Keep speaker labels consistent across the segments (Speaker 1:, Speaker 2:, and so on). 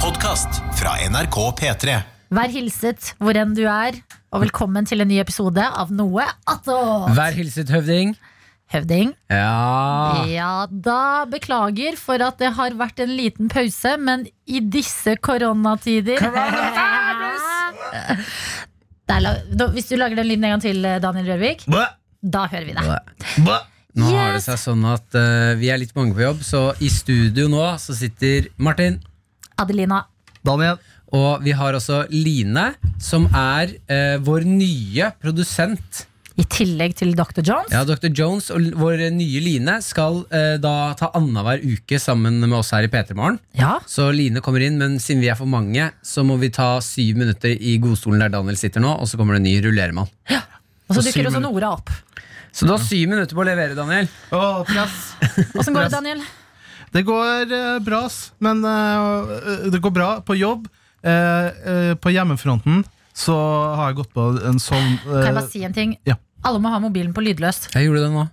Speaker 1: podkast fra NRK P3.
Speaker 2: Vær hilset hvor enn du er, og velkommen til en ny episode av Noe attåt.
Speaker 3: Vær hilset, høvding.
Speaker 2: Høvding.
Speaker 3: Ja.
Speaker 2: Ja da, beklager for at det har vært en liten pause, men i disse koronatider Der la- da- Hvis du lager den lyden en gang til, eh, Daniel Rørvik,
Speaker 3: Bæ.
Speaker 2: da hører vi det.
Speaker 3: Bæ. Nå har det
Speaker 2: Yes.
Speaker 3: seg sånn at eh, vi er litt mange på jobb, så i studio nå så sitter Martin.
Speaker 2: Adelina.
Speaker 3: Daniel. Og vi har også Line, som er eh, vår nye produsent.
Speaker 2: I tillegg til Dr. Jones.
Speaker 3: Ja, Dr. Jones og l- vår nye Line skal eh, da ta annenhver uke sammen med oss her i P3 Morgen.
Speaker 2: Ja.
Speaker 3: Så Line kommer inn, men siden vi er for mange, så må vi ta syv minutter i godstolen der Daniel sitter nå, og så kommer det en ny rulleremann.
Speaker 2: Og så
Speaker 4: Og
Speaker 2: dukker
Speaker 4: syv
Speaker 2: også
Speaker 4: minutter.
Speaker 2: Nora opp.
Speaker 3: Så du har syv minutter på å levere, Daniel.
Speaker 4: Åh, press.
Speaker 2: Åssen går det, Daniel?
Speaker 4: Det går eh, bra, ass. Men eh, det går bra på jobb. Eh, eh, på hjemmefronten så har jeg gått på en sånn
Speaker 2: Kan jeg
Speaker 4: eh,
Speaker 2: bare si en ting?
Speaker 4: ja.
Speaker 2: Alle må ha mobilen på lydløst.
Speaker 3: Jeg gjorde det nå.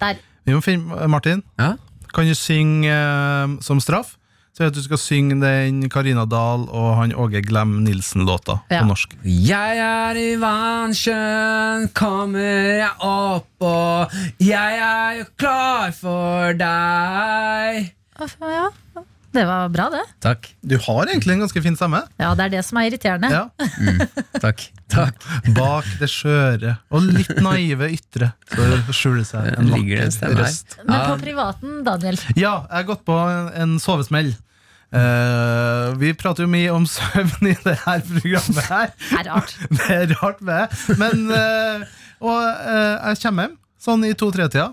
Speaker 2: Der.
Speaker 4: Vi må finne eh, Martin,
Speaker 3: Ja?
Speaker 4: kan du synge eh, som straff? Så jeg vet du skal synge den Karina Dahl og han Åge Glem Nilsen-låta
Speaker 2: Ja.
Speaker 4: på norsk.
Speaker 3: Jeg er i vannsjøen, kommer jeg opp og Jeg er jo klar for deg.
Speaker 2: Ja. Det var bra, det.
Speaker 3: Takk.
Speaker 4: Du har egentlig en ganske fin stemme.
Speaker 2: Ja, det er det som er irriterende.
Speaker 4: Ja.
Speaker 3: Takk. Takk.
Speaker 4: Bak det skjøre og litt naive ytre så skjuler seg en
Speaker 3: Ligger det en
Speaker 4: vakker
Speaker 3: stemme her?
Speaker 4: røst.
Speaker 2: Men på privaten, Daniel.
Speaker 4: Ja, jeg har gått på en, en sovesmell. Eh, vi prater jo mye om søvn i det her programmet her.
Speaker 2: er rart.
Speaker 4: Det er rart med det. Men eh, Og eh, jeg kommer hjem sånn i to-tre-tida.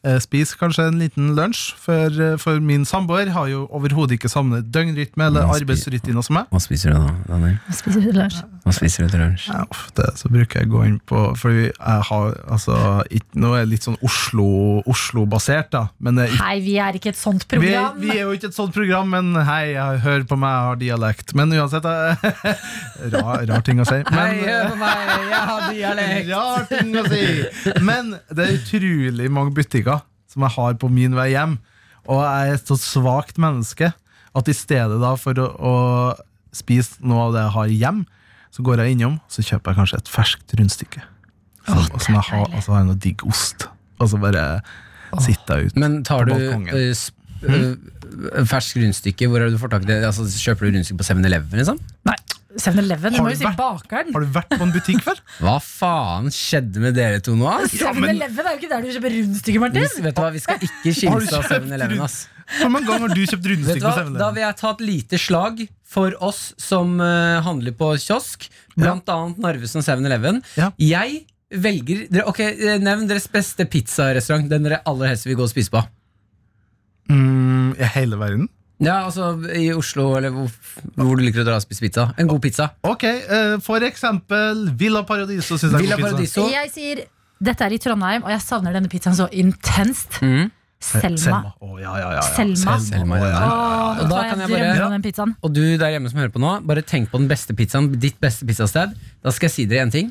Speaker 4: Eh, Spiser kanskje en liten lunsj, for, eh, for min samboer har jo overhodet ikke samme døgnrytme eller
Speaker 3: Han spiser-
Speaker 4: arbeidsrutine som meg.
Speaker 3: Hva spiser du nå, Daniel?
Speaker 2: Spiser du lunsj?
Speaker 3: Hva spiser du til lunsj?
Speaker 4: Ja, ofte så bruker jeg å gå inn på Fordi jeg har altså ikke, Nå er det litt sånn Oslo- Oslo-basert, da. Men det er ikke
Speaker 2: Nei, vi er ikke et sånt
Speaker 4: Vi,
Speaker 2: program.
Speaker 4: vi er jo ikke et sånt program, men hei, jeg hører på meg, jeg har dialekt. Men uansett jeg, rar, rar ting å si. Men, eh,
Speaker 3: på meg, jeg har dialekt.
Speaker 4: rar ting å si. men det er utrolig mange butikker som jeg har på min vei hjem. Og jeg er et så svakt menneske at i stedet da for å, å spise noe av det jeg har hjem, så går jeg innom så kjøper jeg kanskje et ferskt rundstykke. Som, som jeg har, og så har jeg noe digg ost. Og så bare sitter jeg ute.
Speaker 3: Men tar du
Speaker 4: På balkongen.
Speaker 3: eh, sp- eh, fersk rundstykke? Hvor er det du får tak i det? Altså, kjøper du rundstykke på 7-Eleven? Liksom?
Speaker 2: Nei, 7-Eleven, du
Speaker 4: Har
Speaker 2: må
Speaker 4: du
Speaker 2: jo si
Speaker 4: vært-
Speaker 2: bakeren.
Speaker 4: Har du vært på en butikk før?
Speaker 3: Hva faen skjedde med dere to nå? ass?
Speaker 2: 7-Eleven er jo ikke der du kjøper rundstykker,
Speaker 3: Vi,
Speaker 2: Martin.
Speaker 3: vet du hva, vi skal ikke
Speaker 4: Har du
Speaker 3: kimse av
Speaker 4: kjøpt
Speaker 3: 7-Eleven, ass.
Speaker 4: Hvor mange ganger har du kjøpt
Speaker 3: Vet du
Speaker 4: rundstykke på
Speaker 3: hva? Da
Speaker 4: 7-Eleven?
Speaker 3: vil jeg ta et lite slag for oss som eh, handler på kiosk, blant annet Narvesen og 7-Eleven.
Speaker 4: Ja.
Speaker 3: Jeg velger dere, Ok, eh, Nevn deres beste pizzarestaurant. Den dere aller helst vil gå og spise på.
Speaker 4: Mm, I hele verden?
Speaker 3: Ja, altså I Oslo, eller hvor, hvor du liker å dra og spise pizza. En god pizza.
Speaker 4: Ok, eh, for eksempel Villa Paradiso synes jeg er
Speaker 3: Villa
Speaker 4: god
Speaker 3: Paradiso.
Speaker 4: pizza.
Speaker 2: Jeg sier dette er i Trondheim, og jeg savner denne pizzaen så intenst.
Speaker 3: Mm.
Speaker 2: Selma.
Speaker 4: Å, ja, ja, ja, ja.
Speaker 2: Selma.
Speaker 3: Selma,
Speaker 4: å,
Speaker 3: ja.
Speaker 4: ja.
Speaker 2: Åh, vet du
Speaker 3: Da
Speaker 2: hva,
Speaker 3: kan
Speaker 2: jeg
Speaker 3: jeg bare-
Speaker 2: drømmer
Speaker 3: Ja.
Speaker 2: om den pizzaen.
Speaker 3: Og du der hjemme som hører på nå, bare tenk på den beste pizzaen, ditt beste pizzasted. Da skal jeg si dere en ting.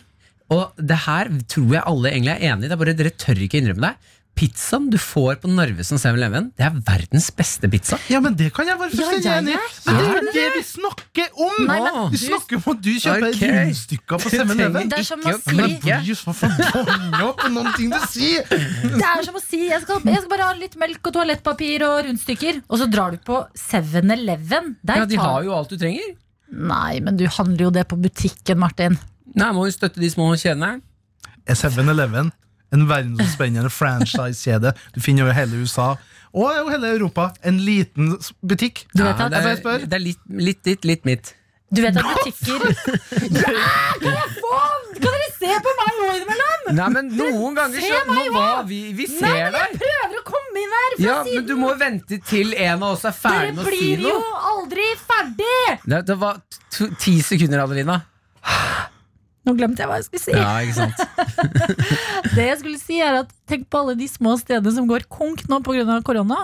Speaker 3: Og det her tror jeg alle egentlig er enig i. Det er bare Dere tør ikke innrømme det. Pizzaen du får på Narvesen 7-Eleven, det er verdens beste pizza.
Speaker 4: Ja, men det kan jeg være fullstendig
Speaker 2: Ja, jeg
Speaker 4: enig i.
Speaker 2: er
Speaker 4: Men Det er jo det vi snakker om!
Speaker 2: Nei,
Speaker 3: men
Speaker 4: vi
Speaker 2: du-
Speaker 4: snakker om at du kjøper
Speaker 3: Ok.
Speaker 4: rundstykker på 7-Eleven.
Speaker 2: Det er som
Speaker 3: Ikke
Speaker 2: å
Speaker 3: å
Speaker 4: Men
Speaker 2: si
Speaker 4: jeg blir jo så forbanna på noen ting du sier!
Speaker 2: Det er som å si jeg skal, jeg skal bare ha litt melk og toalettpapir og rundstykker, og så drar du på 7-Eleven. Der
Speaker 3: Ja, De
Speaker 2: tar-
Speaker 3: har jo alt du trenger.
Speaker 2: Nei, men du handler jo det på butikken, Martin.
Speaker 3: Nei, Må jo støtte de små kjedene.
Speaker 4: Er 7-Eleven en verdensomspennende franchise-kjede? Du finner jo hele USA og jo hele Europa. En liten s- butikk.
Speaker 2: Du vet at-
Speaker 3: det
Speaker 4: Jeg får
Speaker 3: er,
Speaker 4: spørre.
Speaker 3: det er litt, litt ditt, litt mitt.
Speaker 2: Du vet at butikker Ja, kan jeg få Kan dere se på meg nå innimellom?
Speaker 3: Nei, men noen ganger
Speaker 2: Se meg
Speaker 3: nå var vi, vi
Speaker 2: Nei,
Speaker 3: ser
Speaker 2: men jeg
Speaker 3: deg!
Speaker 2: prøver å komme inn her fra
Speaker 3: Ja, men
Speaker 2: siden.
Speaker 3: du må vente til en av oss er
Speaker 2: Dere
Speaker 3: ferdig med å si
Speaker 2: blir jo
Speaker 3: noe.
Speaker 2: aldri ferdig!
Speaker 3: Det, det var t- ti sekunder, Adelina.
Speaker 2: Nå glemte jeg hva jeg skulle si.
Speaker 3: Ja, ikke sant
Speaker 2: Det jeg skulle si er at Tenk på alle de små stedene som går konk nå pga. korona.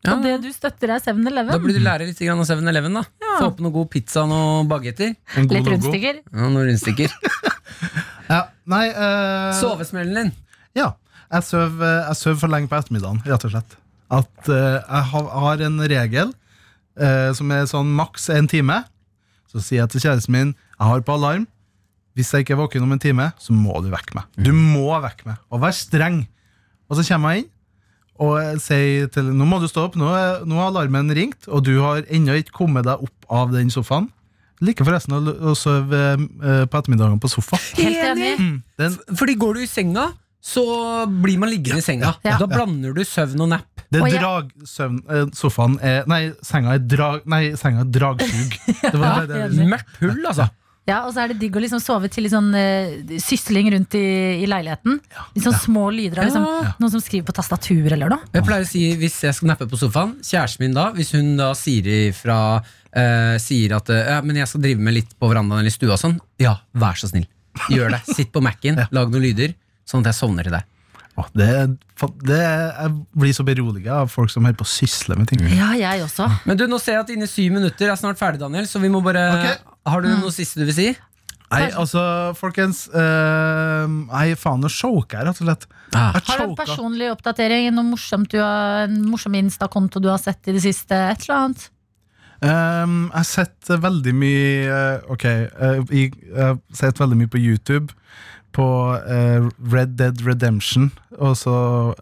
Speaker 3: Ja.
Speaker 2: Og det du støtter, er 7-Eleven.
Speaker 3: Da burde du lære litt grann av 7-Eleven. da Få opp noe god pizza og bagetter.
Speaker 4: En god
Speaker 2: Litt
Speaker 4: logo.
Speaker 2: rundstykker.
Speaker 3: Ja, noen rundstykker.
Speaker 4: Ja, nei eh,
Speaker 3: Sovesmellen din.
Speaker 4: Ja, jeg sover, jeg sover for lenge på ettermiddagen, rett og slett. At eh, jeg har, har en regel eh, som er sånn maks en time. Så sier jeg til kjæresten min jeg har på alarm. Hvis jeg ikke er våken om en time, så må du vekke meg. Du må vekke meg, og vær streng. Og så kommer jeg inn og jeg sier til nå må du stå opp, nå, er, nå har alarmen ringt, og du har ennå ikke kommet deg opp av den sofaen. Liker forresten å, å sove eh, på ettermiddagen på sofa.
Speaker 2: Helt enig.
Speaker 4: Den,
Speaker 3: Fordi går du i senga, så blir man liggende i senga.
Speaker 2: Ja.
Speaker 3: Da blander du søvn og napp.
Speaker 4: Det
Speaker 2: Og jeg-
Speaker 4: drag, søvn, eh, sofaen er, Nei, senga er, drag, nei, senga er dragsug. Det var det, det,
Speaker 3: Mørkt hull, altså.
Speaker 2: Ja, Og så er det digg å liksom sove til litt sånn eh, sysling rundt i, i leiligheten. Litt sånn små lyder av liksom,
Speaker 3: Ja.
Speaker 2: noen som skriver på tastatur eller noe.
Speaker 3: Jeg pleier å si hvis jeg skal nappe på sofaen, kjæresten min da, hvis hun da sier ifra eh, Sier at eh, ja, men jeg skal drive med litt på verandaen eller i stua og sånn, ja, vær så snill. Gjør det. Sitt på Mac-en, lag noen lyder, sånn at jeg sovner til deg.
Speaker 4: Å, det, er fa- det er- Jeg blir så beroliget av folk som holder på å sysle med ting.
Speaker 2: Ja, jeg også.
Speaker 3: Men du, nå ser jeg at inne i syv minutter er snart ferdig, Daniel, så vi må bare
Speaker 4: Ok.
Speaker 3: Har du
Speaker 2: Mm.
Speaker 3: noe siste du vil si?
Speaker 4: Nei, altså, folkens eh, Nei, faen, nå choker jeg, rett og slett.
Speaker 3: Ah.
Speaker 4: Jeg
Speaker 2: Har du en
Speaker 4: choker.
Speaker 2: personlig oppdatering? Noe morsomt du har, en morsom Insta-konto du har sett i det siste? Et eller annet?
Speaker 4: Ehm, jeg har sett eh, veldig mye eh, Ok, eh, i- jeg har sett veldig mye på YouTube. På eh, Red Dead Redemption, også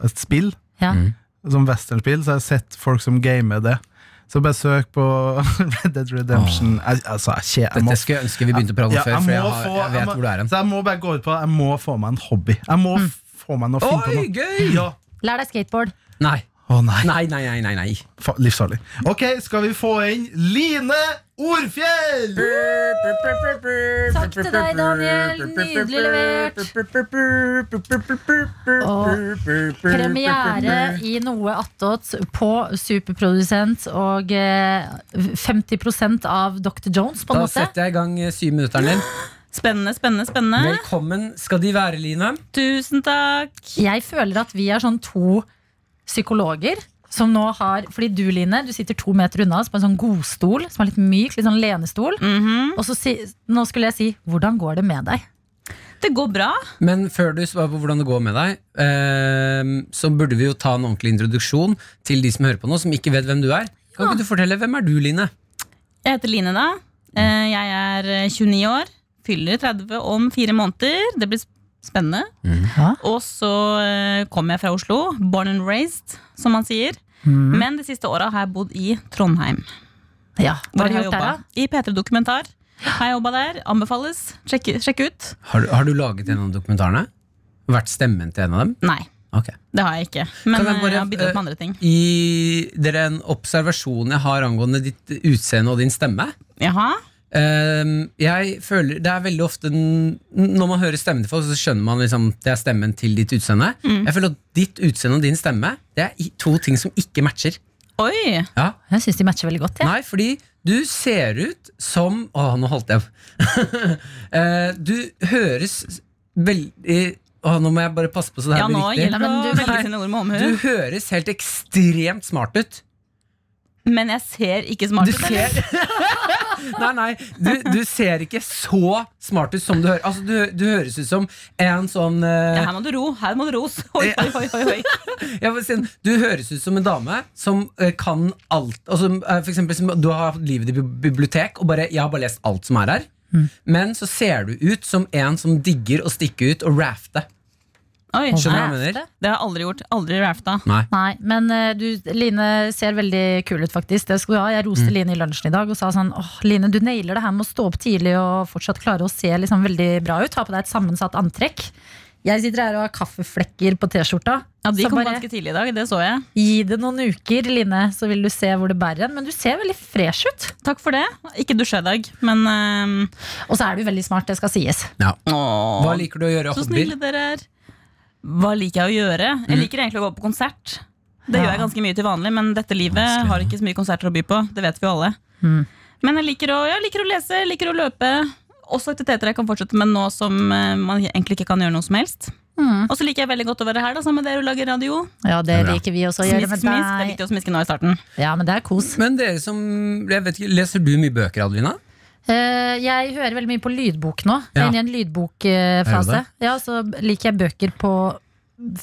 Speaker 4: et spill.
Speaker 2: Ja.
Speaker 3: Mm.
Speaker 4: Som westernspill, så jeg har sett folk som gamer det. Så bare søk på Red Dead Redemption. Jeg, altså, jeg, kje- jeg må,
Speaker 3: Ah. Dette skulle jeg ønske vi begynte å prate om
Speaker 4: Ja,
Speaker 3: før,
Speaker 4: jeg
Speaker 3: for
Speaker 4: må
Speaker 3: jeg, har,
Speaker 4: få-
Speaker 3: jeg vet
Speaker 4: må-
Speaker 3: hvor du er hen. Mm.
Speaker 4: Så jeg må bare gå ut på det. Jeg må få meg en hobby. Jeg må få meg noe fint på
Speaker 3: Oi,
Speaker 4: noe.
Speaker 3: gøy!
Speaker 4: Ja.
Speaker 2: Lær deg skateboard.
Speaker 3: Nei.
Speaker 4: Å nei.
Speaker 3: Nei, nei, nei, nei, nei.
Speaker 4: Fa- Livsfarlig. Ok, skal vi få inn Line Orfjell!
Speaker 2: Takk til deg, Daniel. Nydelig levert. Og premiere i noe attåt på superprodusent og eh, 50 av Dr. Jones, på
Speaker 3: Da
Speaker 2: en måte.
Speaker 3: setter jeg i gang eh, syv minutteren din.
Speaker 5: Spennende, spennende, spennende.
Speaker 3: Velkommen skal de være, Line.
Speaker 5: Tusen takk.
Speaker 2: Jeg føler at vi er sånn to psykologer som nå har Fordi du, Line, du sitter to meter unna oss på en sånn godstol som er litt myk, litt sånn lenestol.
Speaker 5: Mhm.
Speaker 2: Og så si, nå skulle jeg si 'Hvordan går det med deg?'
Speaker 5: Det går bra.
Speaker 3: Men før du svarer på hvordan det går med deg, eh, så burde vi jo ta en ordentlig introduksjon til de som hører på nå, som ikke vet hvem du er. Kan ikke du fortelle, Hvem er du, Line?
Speaker 5: Jeg heter Line, da. Eh, Jeg er eh, 29 år. Fyller 30 om fire måneder. Det blir sp- spennende.
Speaker 3: Mm.
Speaker 2: Ja.
Speaker 5: Og så eh, kommer jeg fra Oslo. Born and raised, som man sier.
Speaker 2: Mm.
Speaker 5: Men de siste åra har jeg bodd i Trondheim.
Speaker 2: Ja, Hva har
Speaker 5: jeg
Speaker 2: du gjort der, da?
Speaker 5: jobbet. I P3 Dokumentar. Har jeg jobba der. Anbefales. Sjekk, sjekk ut.
Speaker 3: Har du, har du laget en av dokumentarene? Vært stemmen til en av dem?
Speaker 5: Nei,
Speaker 3: Ok.
Speaker 5: det har jeg ikke. Men
Speaker 3: Kan jeg
Speaker 5: eh,
Speaker 3: bare,
Speaker 5: jeg har bidratt
Speaker 3: eh,
Speaker 5: med andre ting.
Speaker 3: I det er en observasjon jeg har angående ditt utseende og din stemme.
Speaker 5: Jaha?
Speaker 3: Ehm, jeg føler Det er veldig ofte n- Når man hører stemmen til folk, så skjønner man liksom det er stemmen til ditt utseende.
Speaker 5: Mm.
Speaker 3: Jeg føler at ditt utseende og din stemme Det er i- to ting som ikke matcher.
Speaker 5: Oi!
Speaker 3: Ja.
Speaker 2: Jeg syns de matcher veldig godt. Ja.
Speaker 3: Nei, fordi du ser ut som Å, nå holdt jeg Eh, Du høres veldig Å, nå må jeg bare passe på så det her
Speaker 5: Ja, nå
Speaker 3: blir riktig.
Speaker 5: gjelder
Speaker 2: Nei,
Speaker 5: det å
Speaker 2: men du-
Speaker 5: velge sine ord med
Speaker 3: Du
Speaker 5: omhu.
Speaker 3: høres helt ekstremt smart ut.
Speaker 5: Men jeg ser ikke smart
Speaker 3: Du
Speaker 5: ut. eller?
Speaker 3: ser Nei, nei, du, du ser ikke så smart ut som du hører. Altså, du, du høres ut som en sånn
Speaker 5: Ja,
Speaker 3: eh,
Speaker 5: her må du ro. Her må du ros. Oi, oi, oi, oi, oi.
Speaker 3: jeg vil si, Du høres ut som en dame som eh, kan alt. Altså, eh, for eksempel, som, du har hatt livet ditt i bi- bibliotek, og bare, jeg har bare lest alt som er her.
Speaker 5: Mm.
Speaker 3: Men så ser du ut som en som digger å stikke ut og rafte.
Speaker 5: Oi,
Speaker 3: Skjønner
Speaker 5: nei,
Speaker 3: du hva jeg mener?
Speaker 5: Det har jeg aldri gjort. Aldri rafta.
Speaker 3: Nei.
Speaker 2: Nei, men eh, du, Line ser veldig kul ut, faktisk. Det skal du ha. Jeg
Speaker 3: Mm.
Speaker 2: roste Line i lunsjen i dag og sa sånn Åh, Line, du nailer det her med å stå opp tidlig og fortsatt klare å se liksom veldig bra ut. Ha på deg et sammensatt antrekk. Jeg sitter her og har kaffeflekker på T-skjorta.
Speaker 5: Ja, De
Speaker 2: Så
Speaker 5: kom
Speaker 2: bare-
Speaker 5: ganske tidlig i dag. Det så jeg.
Speaker 2: Gi det noen uker, Line, så vil du se hvor det bærer hen. Men du ser veldig fresh ut.
Speaker 5: Takk for det. Ikke dusja i dag, men ehm,
Speaker 2: Og så er du veldig smart, det skal sies.
Speaker 3: Ja.
Speaker 5: åh,
Speaker 3: Hva Mm. liker du å gjøre?
Speaker 5: Så
Speaker 3: Hobbyer?
Speaker 5: snille dere er. Hva liker jeg å gjøre? Jeg liker egentlig å gå på konsert. Det gjør jeg ganske mye til vanlig, men dette livet har ikke så mye konserter å by på. Det vet vi jo alle.
Speaker 3: Mm.
Speaker 5: Men jeg liker, å, jeg liker å lese, jeg liker å løpe. Også aktiviteter jeg kan fortsette med nå som eh, man egentlig ikke kan gjøre noe som helst.
Speaker 3: Mm.
Speaker 5: Og så liker jeg veldig godt å være her da, sammen med dere og lage radio.
Speaker 2: Ja, det
Speaker 3: bra.
Speaker 2: liker vi også å gjøre
Speaker 5: Smisk,
Speaker 2: med
Speaker 5: smisk. Det er
Speaker 2: deg.
Speaker 5: viktig å smiske nå i starten.
Speaker 2: Ja, men det er kos.
Speaker 3: Men dere som jeg vet ikke, Leser du mye bøker, Adelina?
Speaker 2: Eh, jeg hører veldig mye på lydbok nå. Jeg
Speaker 3: Ja.
Speaker 2: er inne i en lydbokfase.
Speaker 3: Er
Speaker 2: Ja, så liker jeg bøker på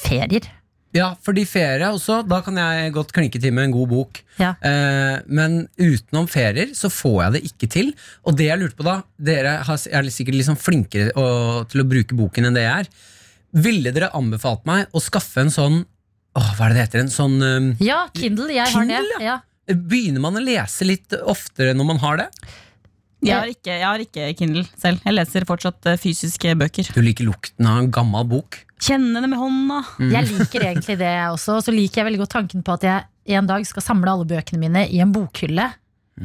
Speaker 2: ferier.
Speaker 3: Ja, fordi ferie også, da kan jeg godt klinke til med en god bok.
Speaker 2: Ja.
Speaker 3: Eh, men utenom ferier så får jeg det ikke til. Og det jeg lurte på da, dere har, er sikkert liksom flinkere å, til å bruke boken enn det jeg er. Ville dere anbefalt meg å skaffe en sånn åh, Hva er det det heter? En sånn eh,
Speaker 2: Ja, Kindle. Jeg har det.
Speaker 3: Kindle,
Speaker 2: Ja.
Speaker 3: Begynner man å lese litt oftere når man har det?
Speaker 5: Jeg har ikke, jeg har ikke Kindle selv. Jeg leser fortsatt eh, fysiske bøker.
Speaker 3: Du liker lukten av en gammel bok.
Speaker 5: Kjenne det med hånda.
Speaker 2: Jeg liker egentlig det jeg også. Og så liker jeg veldig godt tanken på at jeg en dag skal samle alle bøkene mine i en bokhylle.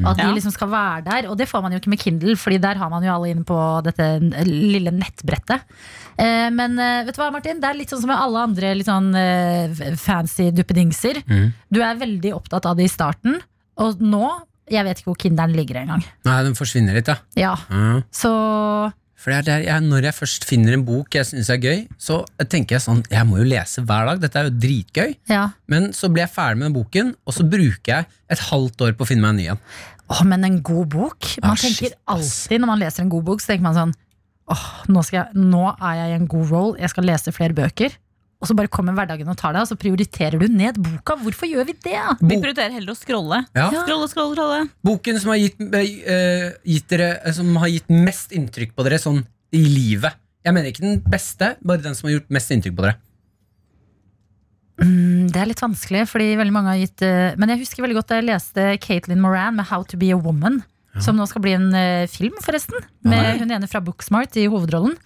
Speaker 2: Og at de
Speaker 5: Ja.
Speaker 2: liksom skal være der. Og det får man jo ikke med Kindle, Fordi der har man jo alle inne på dette lille nettbrettet. Eh, men eh, vet du hva, Martin? Det er litt sånn som med alle andre litt sånn eh, fancy duppedingser.
Speaker 3: Mhm.
Speaker 2: Du er veldig opptatt av det i starten, og nå Jeg vet ikke hvor Kinderen ligger engang.
Speaker 3: Nei, den forsvinner litt, ja.
Speaker 2: Ja,
Speaker 3: ja.
Speaker 2: så
Speaker 3: For det er der jeg, Når jeg først finner en bok jeg syns er gøy, så tenker jeg sånn Jeg må jo lese hver dag, dette er jo dritgøy.
Speaker 2: ja.
Speaker 3: Men så blir jeg ferdig med den boken, og så bruker jeg et halvt år på å finne meg en ny en.
Speaker 2: Åh, men en god bok Man
Speaker 3: Ah,
Speaker 2: tenker
Speaker 3: shit, ass.
Speaker 2: alltid når man leser en god bok Så tenker man sånn Åh, nå, skal jeg, nå er jeg i en god roll Jeg skal lese flere bøker Og så bare kommer hverdagen og tar deg Og så prioriterer du ned boka Hvorfor gjør vi det?
Speaker 5: Vi
Speaker 3: Bok-
Speaker 5: prioriterer heller å scrolle.
Speaker 3: Ja.
Speaker 5: Scrolle, scrolle, scrolle.
Speaker 3: Boken som har gitt, eh, gitt dere, eh, som har gitt mest inntrykk på dere sånn i livet. Jeg mener ikke den beste, bare den som har gjort mest inntrykk på dere.
Speaker 2: Mm, Det er litt vanskelig Fordi veldig mange har gitt eh, Men jeg husker veldig godt da jeg leste Caitlin Moran Med How to be a woman Som nå skal bli en eh, film forresten
Speaker 3: Nei.
Speaker 2: Med hun ene fra Booksmart i hovedrollen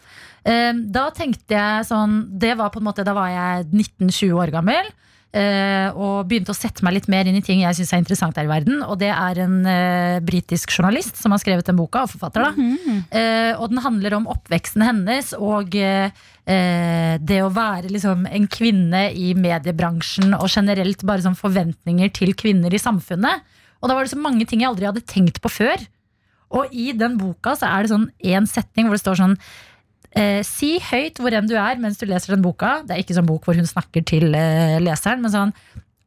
Speaker 2: Eh, Da tenkte jeg sånn Det var på en måte, da var jeg 19-20 år gammel eh, og begynte å sette meg litt mer inn i ting jeg syns er interessant her i verden. Og det er en eh, britisk journalist som har skrevet den boka, og forfatter, da. Eh, og den handler om oppveksten hennes og eh, eh, det å være liksom en kvinne i mediebransjen, og generelt bare sånn forventninger til kvinner i samfunnet. Og da var det så mange ting jeg aldri hadde tenkt på før. Og i den boka så er det sånn én setning hvor det står sånn Eh, si høyt hvor enn du er mens du leser den boka. Det er ikke sånn bok hvor hun snakker til eh, leseren, men sånn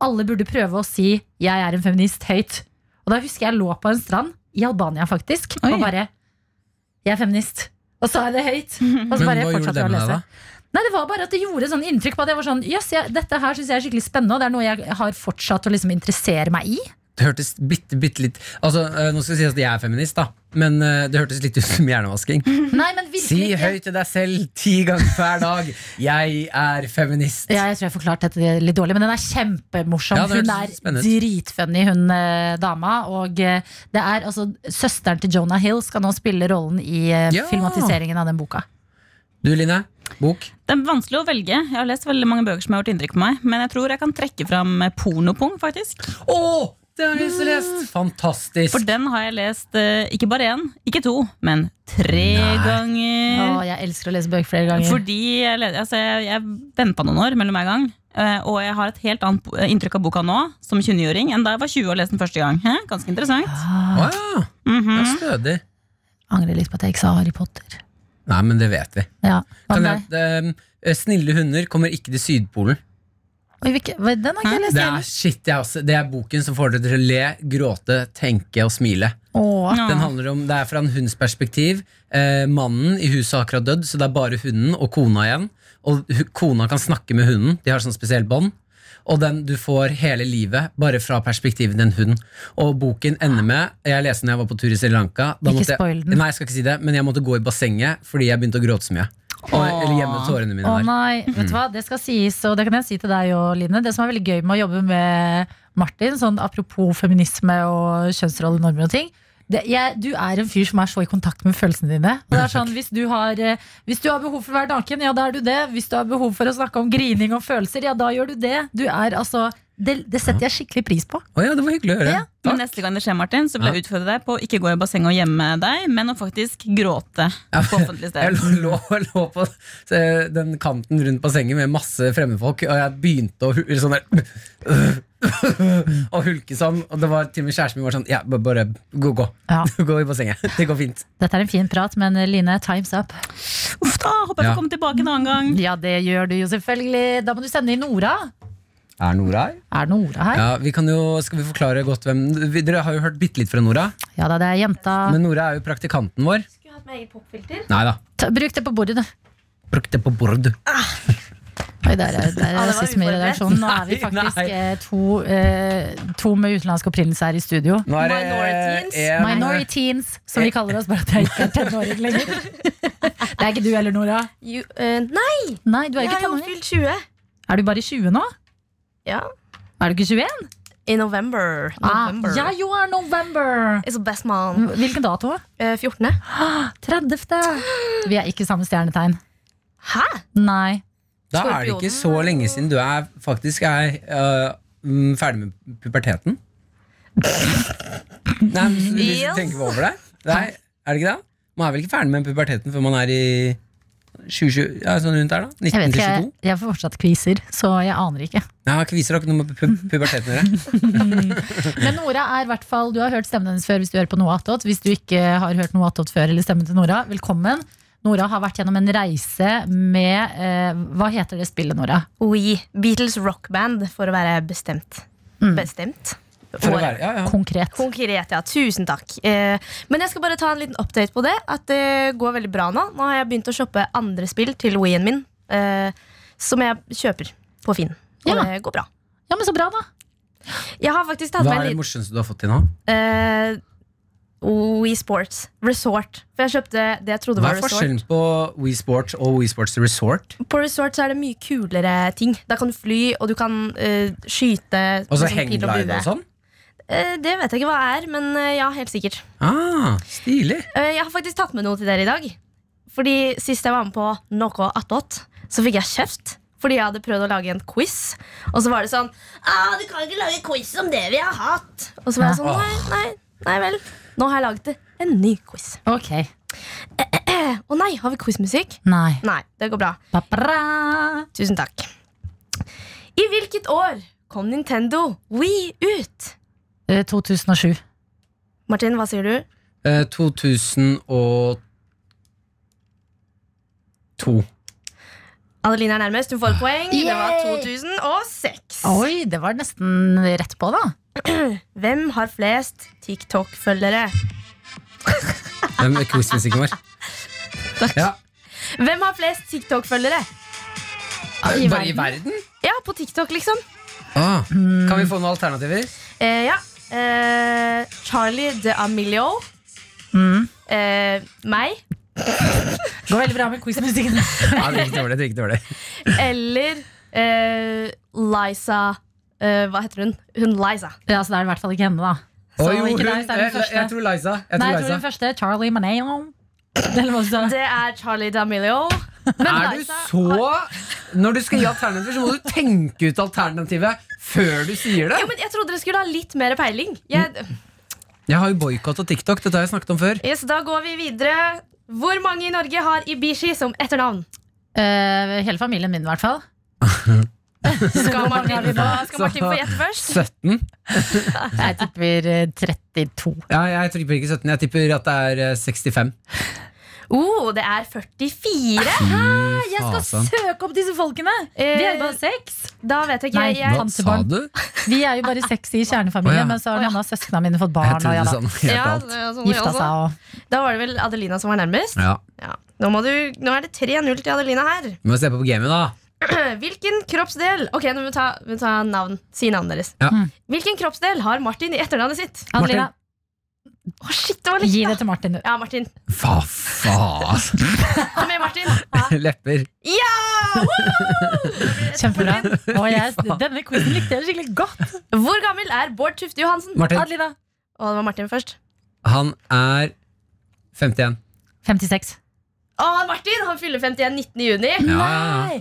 Speaker 2: Alle burde prøve å si 'jeg er en feminist' høyt. Og da husker jeg lå på en strand, i Albania faktisk,
Speaker 5: Oi.
Speaker 2: og bare 'jeg er feminist'. Og sa jeg det høyt. Og så
Speaker 3: Men
Speaker 2: bare
Speaker 3: hva gjorde
Speaker 2: fortsatte
Speaker 3: det
Speaker 2: jeg å
Speaker 3: med deg,
Speaker 2: lese.
Speaker 3: da?
Speaker 2: Nei, det var bare at det gjorde sånn inntrykk på at jeg var sånn Jøss, jeg- dette her syns jeg er skikkelig spennende, og det er noe jeg har fortsatt å liksom interessere meg i.
Speaker 3: Det hørtes bitte, bitte litt Altså, eh, Nå skal det sies at jeg er feminist, da, men eh, det hørtes litt ut som hjernevasking.
Speaker 2: Nei, men
Speaker 3: Si
Speaker 2: virkelig ikke.
Speaker 3: høyt til deg selv ti ganger hver dag 'Jeg er feminist'.
Speaker 2: Ja, jeg tror jeg forklarte dette litt dårlig, men den er kjempemorsom.
Speaker 3: Ja, det
Speaker 2: hun er
Speaker 3: hørtes spennende ut.
Speaker 2: dritfunny, hun eh, dama. Og eh, det er altså Søsteren til Jonah Hill skal nå spille rollen i eh,
Speaker 3: Ja.
Speaker 2: filmatiseringen av den boka.
Speaker 3: Du, Line. Bok.
Speaker 5: Det er vanskelig å velge. Jeg har lest veldig mange bøker som har gjort inntrykk på meg. Men jeg tror jeg kan trekke fram eh, Pornopung, faktisk.
Speaker 3: Å! Det har jeg lyst til å lese! Fantastisk.
Speaker 5: For den har jeg lest eh, ikke bare én, ikke to, men tre ganger.
Speaker 2: Å, jeg elsker å lese bøker flere ganger.
Speaker 5: Fordi jeg, le- altså, jeg, jeg venta noen år mellom hver gang. eh, Og jeg har et helt annet bo- inntrykk av boka nå som 20-åring enn da jeg var 20 og leste den første gang. Hæ? Ganske interessant.
Speaker 2: ah,
Speaker 3: Å, ja.
Speaker 5: Mhm.
Speaker 3: Det er Stødig.
Speaker 2: angrer litt på at jeg ikke sa Harry Potter.
Speaker 3: Nei, men det vet vi.
Speaker 2: Ja, hva
Speaker 3: Kan
Speaker 2: med
Speaker 3: jeg,
Speaker 2: deg?
Speaker 3: eh, snille hunder kommer ikke til Sydpolen.
Speaker 2: Oi, hvilke- hva- Den har ikke jeg lest
Speaker 3: Det er,
Speaker 2: heller.
Speaker 3: shit, jeg også, det er boken som får dere til å le, gråte, tenke og smile.
Speaker 2: Å,
Speaker 5: Ja.
Speaker 3: Den handler om, Det er fra en hunds perspektiv. Eh, mannen i huset har akkurat dødd, så det er bare hunden og kona igjen. Og hu- kona kan snakke med hunden. De har sånn spesiell bånd. Og den du får hele livet bare fra perspektivet til en hund. Og boken ender med Jeg leste den da jeg var på tur i Sri Lanka. Da
Speaker 2: Ikke
Speaker 3: måtte
Speaker 2: spoil
Speaker 3: jeg,
Speaker 2: den.
Speaker 3: nei, jeg skal ikke si det, men jeg måtte gå i bassenget fordi jeg begynte å gråte så mye. Og, eller gjemme tårene mine
Speaker 2: Å
Speaker 3: der.
Speaker 2: nei, Mm. vet du hva, det skal sies, og det kan jeg si til deg òg, Line. Det som er veldig gøy med å jobbe med Martin, sånn apropos feminisme og kjønnsroller, normer og ting. Det, jeg, du er en fyr som er så i kontakt med følelsene dine. Og det er sånn, hvis du, har, eh, hvis du har behov for å være naken, ja, da er du det. Hvis du har behov for å snakke om grining og følelser, ja, da gjør du det. Du er altså Det, det setter jeg skikkelig pris på.
Speaker 3: Å ja, det var hyggelig å høre.
Speaker 2: Ja.
Speaker 3: Takk.
Speaker 5: Men neste gang det skjer, Martin, så vil
Speaker 3: Ja.
Speaker 5: jeg utfordre deg på å ikke gå i bassenget og gjemme deg, men å faktisk gråte på offentlig
Speaker 3: Jeg
Speaker 5: sted.
Speaker 3: lå, lå, lå på eh, den kanten rundt bassenget med masse fremmedfolk, og jeg begynte å hu- sånn der, og hulke sånn. Og det var til og med kjæresten min var sånn Ja, b- bare gå, gå.
Speaker 2: Ja.
Speaker 3: Gå i bassenget. Det går fint.
Speaker 2: Dette er en fin prat, men eh, Line, time's up.
Speaker 5: Uff da, håper jeg
Speaker 3: Ja.
Speaker 5: får komme tilbake en annen gang.
Speaker 2: Ja, det gjør du jo selvfølgelig. Da må du sende inn Nora.
Speaker 3: Er Nora her?
Speaker 2: Er Nora her?
Speaker 3: Ja, vi kan jo, Skal vi forklare godt hvem vi, Dere har jo hørt bitte litt fra Nora,
Speaker 2: Ja, da, det er jenta.
Speaker 3: men Nora er jo praktikanten vår.
Speaker 6: Skulle hatt med eget popfilter.
Speaker 3: Nei da.
Speaker 2: Ta, bruk det på bordet, du.
Speaker 3: Bruk det på bord.
Speaker 2: Oi, der er, der
Speaker 6: Ja,
Speaker 2: er
Speaker 6: det var
Speaker 2: rasisme i
Speaker 6: uforberedt.
Speaker 2: redaksjonen. Nå er vi
Speaker 3: Nei,
Speaker 2: faktisk
Speaker 3: nei.
Speaker 2: eh, to, eh, to med utenlandsk opprinnelse her i studio.
Speaker 3: Nå er
Speaker 6: Minorities.
Speaker 3: det en-
Speaker 2: Minorities, som vi kaller oss, bare at jeg ikke er tenåring lenger. Det er ikke du heller, Nora.
Speaker 6: Jo, eh, nei,
Speaker 2: Nei, du er
Speaker 6: jeg
Speaker 2: ikke
Speaker 6: har jo
Speaker 2: tenåring.
Speaker 6: fylt 20.
Speaker 2: Er du bare 20 nå?
Speaker 6: Ja.
Speaker 2: Er du ikke 21?
Speaker 6: I november.
Speaker 2: Ah, Mm.
Speaker 6: november.
Speaker 2: yeah, you are November!
Speaker 6: It's the best man.
Speaker 2: Hvilken dato?
Speaker 6: Eh, 14.
Speaker 2: 30. Vi er ikke samme stjernetegn.
Speaker 6: Hæ?
Speaker 2: Nei.
Speaker 3: Da er det ikke så lenge siden du er faktisk er øh, mm, ferdig med puberteten. Nei, men hvis du- hvis du
Speaker 6: Yes.
Speaker 3: tenker over det. Nei, er det ikke det? Man er vel ikke ferdig med puberteten før man er i 20, ja, sånn rundt der da?
Speaker 2: Jeg vet
Speaker 3: 19 til
Speaker 2: ikke, jeg,
Speaker 3: 22?
Speaker 2: jeg får fortsatt kviser, så jeg aner ikke.
Speaker 3: Nei, kviser har ikke noe med pu puberteten å gjøre.
Speaker 2: Men Nora er i hvert fall, du har hørt stemmen hennes før hvis du hører på Noe attåt. Hvis du ikke har hørt Noe attåt før eller stemmen til Nora, velkommen. Nora har vært gjennom en reise med eh, Hva heter det spillet, Nora?
Speaker 6: We. Beatles rockband, for å være bestemt.
Speaker 2: Mm.
Speaker 6: Bestemt.
Speaker 3: For å
Speaker 6: Året.
Speaker 3: være, ja, ja.
Speaker 2: Konkret.
Speaker 6: Konkret, ja. Tusen takk. Eh, men jeg skal bare ta en liten update på det. At det går veldig bra nå. Nå har jeg begynt å shoppe andre spill til Wii-en min, eh, som jeg kjøper på Finn. Og
Speaker 2: Ja.
Speaker 6: det går bra.
Speaker 2: Ja, men så bra, da.
Speaker 6: Jeg har faktisk tatt
Speaker 3: Hva
Speaker 6: med en
Speaker 3: er det
Speaker 6: liten
Speaker 3: morsomste du har fått til nå?
Speaker 6: eh, Wii Sports Resort. For jeg kjøpte det jeg
Speaker 3: Hva
Speaker 6: trodde var
Speaker 3: er
Speaker 6: Resort.
Speaker 3: forskjellen på Wii Sports og Wii Sports Resort?
Speaker 6: På Resort så er det mye kulere ting. Da kan du fly, og du kan eh, skyte.
Speaker 3: Og så
Speaker 6: liksom, pil og
Speaker 3: hangglide
Speaker 6: bue.
Speaker 3: og sånn?
Speaker 6: Eh, det vet jeg ikke hva er, men eh, ja, helt sikkert.
Speaker 3: Ah, stilig.
Speaker 6: Eh, jeg har faktisk tatt med noe til dere i dag. Fordi Sist jeg var med på Noe attåt, så fikk jeg kjeft. Fordi jeg hadde prøvd å lage en quiz. Og så var det sånn ah, 'Du kan ikke lage quiz om det vi har hatt.' Og så var jeg sånn Nei, nei, nei vel. Nå har jeg laget en ny quiz. Eh,
Speaker 2: Ok.
Speaker 6: Å nei, har vi quizmusikk?
Speaker 2: Nei.
Speaker 6: Nei, det går bra.
Speaker 2: Ba-ba-ra.
Speaker 6: Tusen takk. I hvilket år kom Nintendo Wii ut?
Speaker 2: Eh, 2007.
Speaker 6: Martin, hva sier du?
Speaker 3: Eh, 2002.
Speaker 6: Adeline er nærmest. Hun får et poeng. Det var
Speaker 2: Yay!
Speaker 6: 2006.
Speaker 2: Oi, det var nesten rett på, da.
Speaker 6: Hvem har flest TikTok-følgere?
Speaker 3: Den quizmusikken vår. Ja.
Speaker 6: Hvem har flest TikTok-følgere?
Speaker 2: I
Speaker 3: Bare i
Speaker 2: verden?
Speaker 3: verden?
Speaker 6: Ja, på TikTok, liksom.
Speaker 3: Ah. Kan vi få noen alternativer?
Speaker 6: Eh, ja. Eh, Charlie de Amelio.
Speaker 3: Mm.
Speaker 6: Eh, meg.
Speaker 2: Går veldig bra med quizmusikken.
Speaker 3: Ja, det gikk dårlig. det gikk dårlig
Speaker 6: Eller eh, Liza eh, Hva heter hun? Hun Liza.
Speaker 2: Ja, så da er det i hvert fall ikke henne, da. Så
Speaker 3: Å, jo,
Speaker 2: ikke
Speaker 3: hun,
Speaker 2: deg, det er
Speaker 3: jeg,
Speaker 2: den første.
Speaker 3: jeg tror Liza. Jeg
Speaker 2: Nei,
Speaker 3: tror
Speaker 2: jeg tror
Speaker 3: Liza.
Speaker 2: den første. Charlie Maneo. Eller hva du sa.
Speaker 6: Det er Charlie de Amelio. Men
Speaker 3: Er du
Speaker 6: Liza
Speaker 3: så Når du skal gi alternativer, så må du tenke ut alternativet før du sier
Speaker 6: Jo,
Speaker 3: det.
Speaker 6: men Jeg trodde dere skulle ha litt mer peiling. Jeg,
Speaker 3: Jeg har jo boikotta TikTok. Dette har jeg snakket om før.
Speaker 6: yes, da går vi videre. Hvor mange i Norge har Ibishi som etternavn?
Speaker 2: Eh, hele familien min, i hvert fall.
Speaker 6: Skal Martin, skal Martin få
Speaker 3: Så-
Speaker 6: gjette først?
Speaker 3: 17?
Speaker 2: Jeg tipper eh, 32.
Speaker 3: Ja, jeg tipper ikke 17. Jeg tipper at det er eh, 65.
Speaker 6: Oh, det er 44.
Speaker 2: Jeg skal
Speaker 3: Fasan.
Speaker 2: søke opp disse folkene! Vi er jo bare seks.
Speaker 6: Da vet jeg ikke.
Speaker 2: Eh, Nei,
Speaker 6: Jeg,
Speaker 3: Hva sa
Speaker 2: tantebarn.
Speaker 3: du?
Speaker 2: Vi er jo bare seks i kjernefamilien,
Speaker 3: Å, ja.
Speaker 2: men så har noen av søsknene mine fått barn
Speaker 3: Jeg
Speaker 2: og
Speaker 3: trodde
Speaker 2: ja,
Speaker 3: du
Speaker 2: da,
Speaker 3: sa noe helt
Speaker 6: Ja,
Speaker 3: annet.
Speaker 6: det er sånn jeg
Speaker 2: gifta
Speaker 6: også.
Speaker 2: seg og
Speaker 6: Da var det vel Adelina som var nærmest.
Speaker 3: Ja.
Speaker 6: Ja. Nå, må du, nå er det 3-0 til Adelina her.
Speaker 3: Vi må se på gamet, da.
Speaker 6: Hvilken kroppsdel Ok, nå må vi ta, vi må ta navn. Si navnet deres.
Speaker 3: Ja.
Speaker 2: Hmm.
Speaker 3: Mm.
Speaker 6: Hvilken kroppsdel har Martin i etternavnet sitt?
Speaker 2: Adelina,
Speaker 6: Å, shit, det var
Speaker 2: gi det
Speaker 6: litt da.
Speaker 2: til Martin, du.
Speaker 6: Ja, Martin.
Speaker 3: Hva faen?
Speaker 6: Kom igjen, Martin.
Speaker 3: Lepper.
Speaker 6: Ja! Woo!
Speaker 2: Kjempebra. Å, jeg, denne quizen likte jeg skikkelig godt.
Speaker 6: Hvor gammel er Bård Tufte Johansen?
Speaker 3: Martin,
Speaker 2: Adelina.
Speaker 6: Å, det var Martin først.
Speaker 3: han er 51.
Speaker 2: 56.
Speaker 6: Å, Martin! Han fyller 51 19. juni.
Speaker 3: Ja.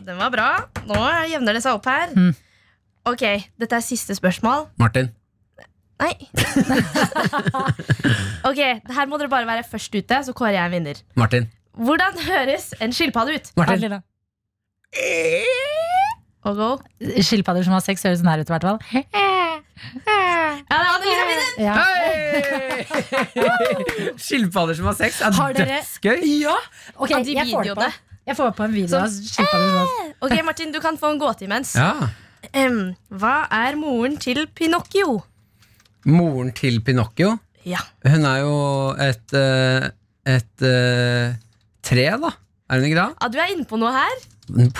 Speaker 6: Den var bra. Nå jevner det seg opp her.
Speaker 2: Mm.
Speaker 6: Ok, dette er siste spørsmål.
Speaker 3: Martin.
Speaker 6: Nei. ok, her må dere bare være først ute, så kårer jeg en vinner.
Speaker 3: Martin.
Speaker 6: Hvordan høres en skilpadde ut?
Speaker 3: Martin. Eh!
Speaker 2: Adelina.
Speaker 6: Og go.
Speaker 2: Skilpadder som har sex, høres sånn her ut i hvert fall. Eh,
Speaker 6: Ja, det var Adelina vinner!
Speaker 2: Ja.
Speaker 3: Hei! Skilpadder som har sex, er
Speaker 2: Har dere-
Speaker 3: dødsgøy.
Speaker 2: Ok,
Speaker 6: Ja, de
Speaker 2: jeg får det på.
Speaker 6: videoene.
Speaker 2: Jeg får på en video
Speaker 6: Sånn.
Speaker 2: av skilpadder som har
Speaker 6: Ok, Martin, du kan få en gåte imens.
Speaker 3: Ja.
Speaker 6: Em, hva er moren til Pinocchio?
Speaker 3: Moren til Pinocchio,
Speaker 6: Ja.
Speaker 3: hun er jo et eh, et eh, tre, da. Er hun ikke det?
Speaker 6: ja, du er inne på noe her.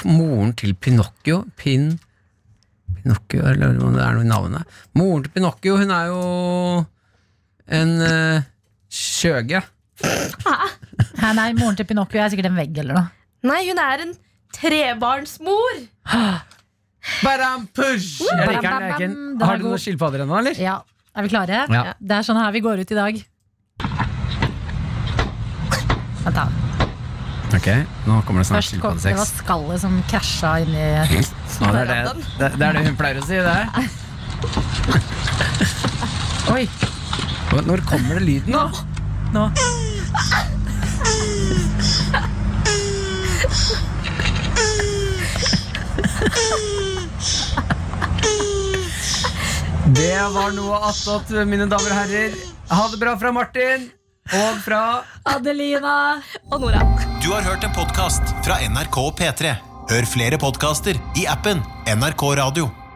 Speaker 3: Moren til Pinocchio Pin... Pinocchio, eller om det er noe i navnet. Moren til Pinocchio, hun er jo en eh, skjøge.
Speaker 2: Hæ, nei, moren til Pinocchio er sikkert en vegg eller noe.
Speaker 6: Nei, hun er en trebarnsmor.
Speaker 3: Badam push! Jeg liker den. Jeg liker den.
Speaker 2: Den er
Speaker 3: Har du
Speaker 2: god.
Speaker 3: noen skilpadder ennå, eller?
Speaker 2: Ja, Er vi klare?
Speaker 3: Ja.
Speaker 2: Det er sånn her vi går ut i dag. Vent, da.
Speaker 3: Ok, nå kommer det snart
Speaker 2: Først kom, det var
Speaker 3: skilpaddesex.
Speaker 2: skallet som krasja inn i
Speaker 3: Nå, det, er det, det, det er det hun pleier å si, det her. Oi! Hva- Når kommer det lyden, da?
Speaker 2: nå.
Speaker 3: Det var noe attåt, mine damer og herrer. Ha det bra fra Martin og fra
Speaker 2: Adelina!
Speaker 6: Og Nora.
Speaker 1: Du har hørt en podcast fra NRK P3. Hør flere podcaster i appen NRK Radio.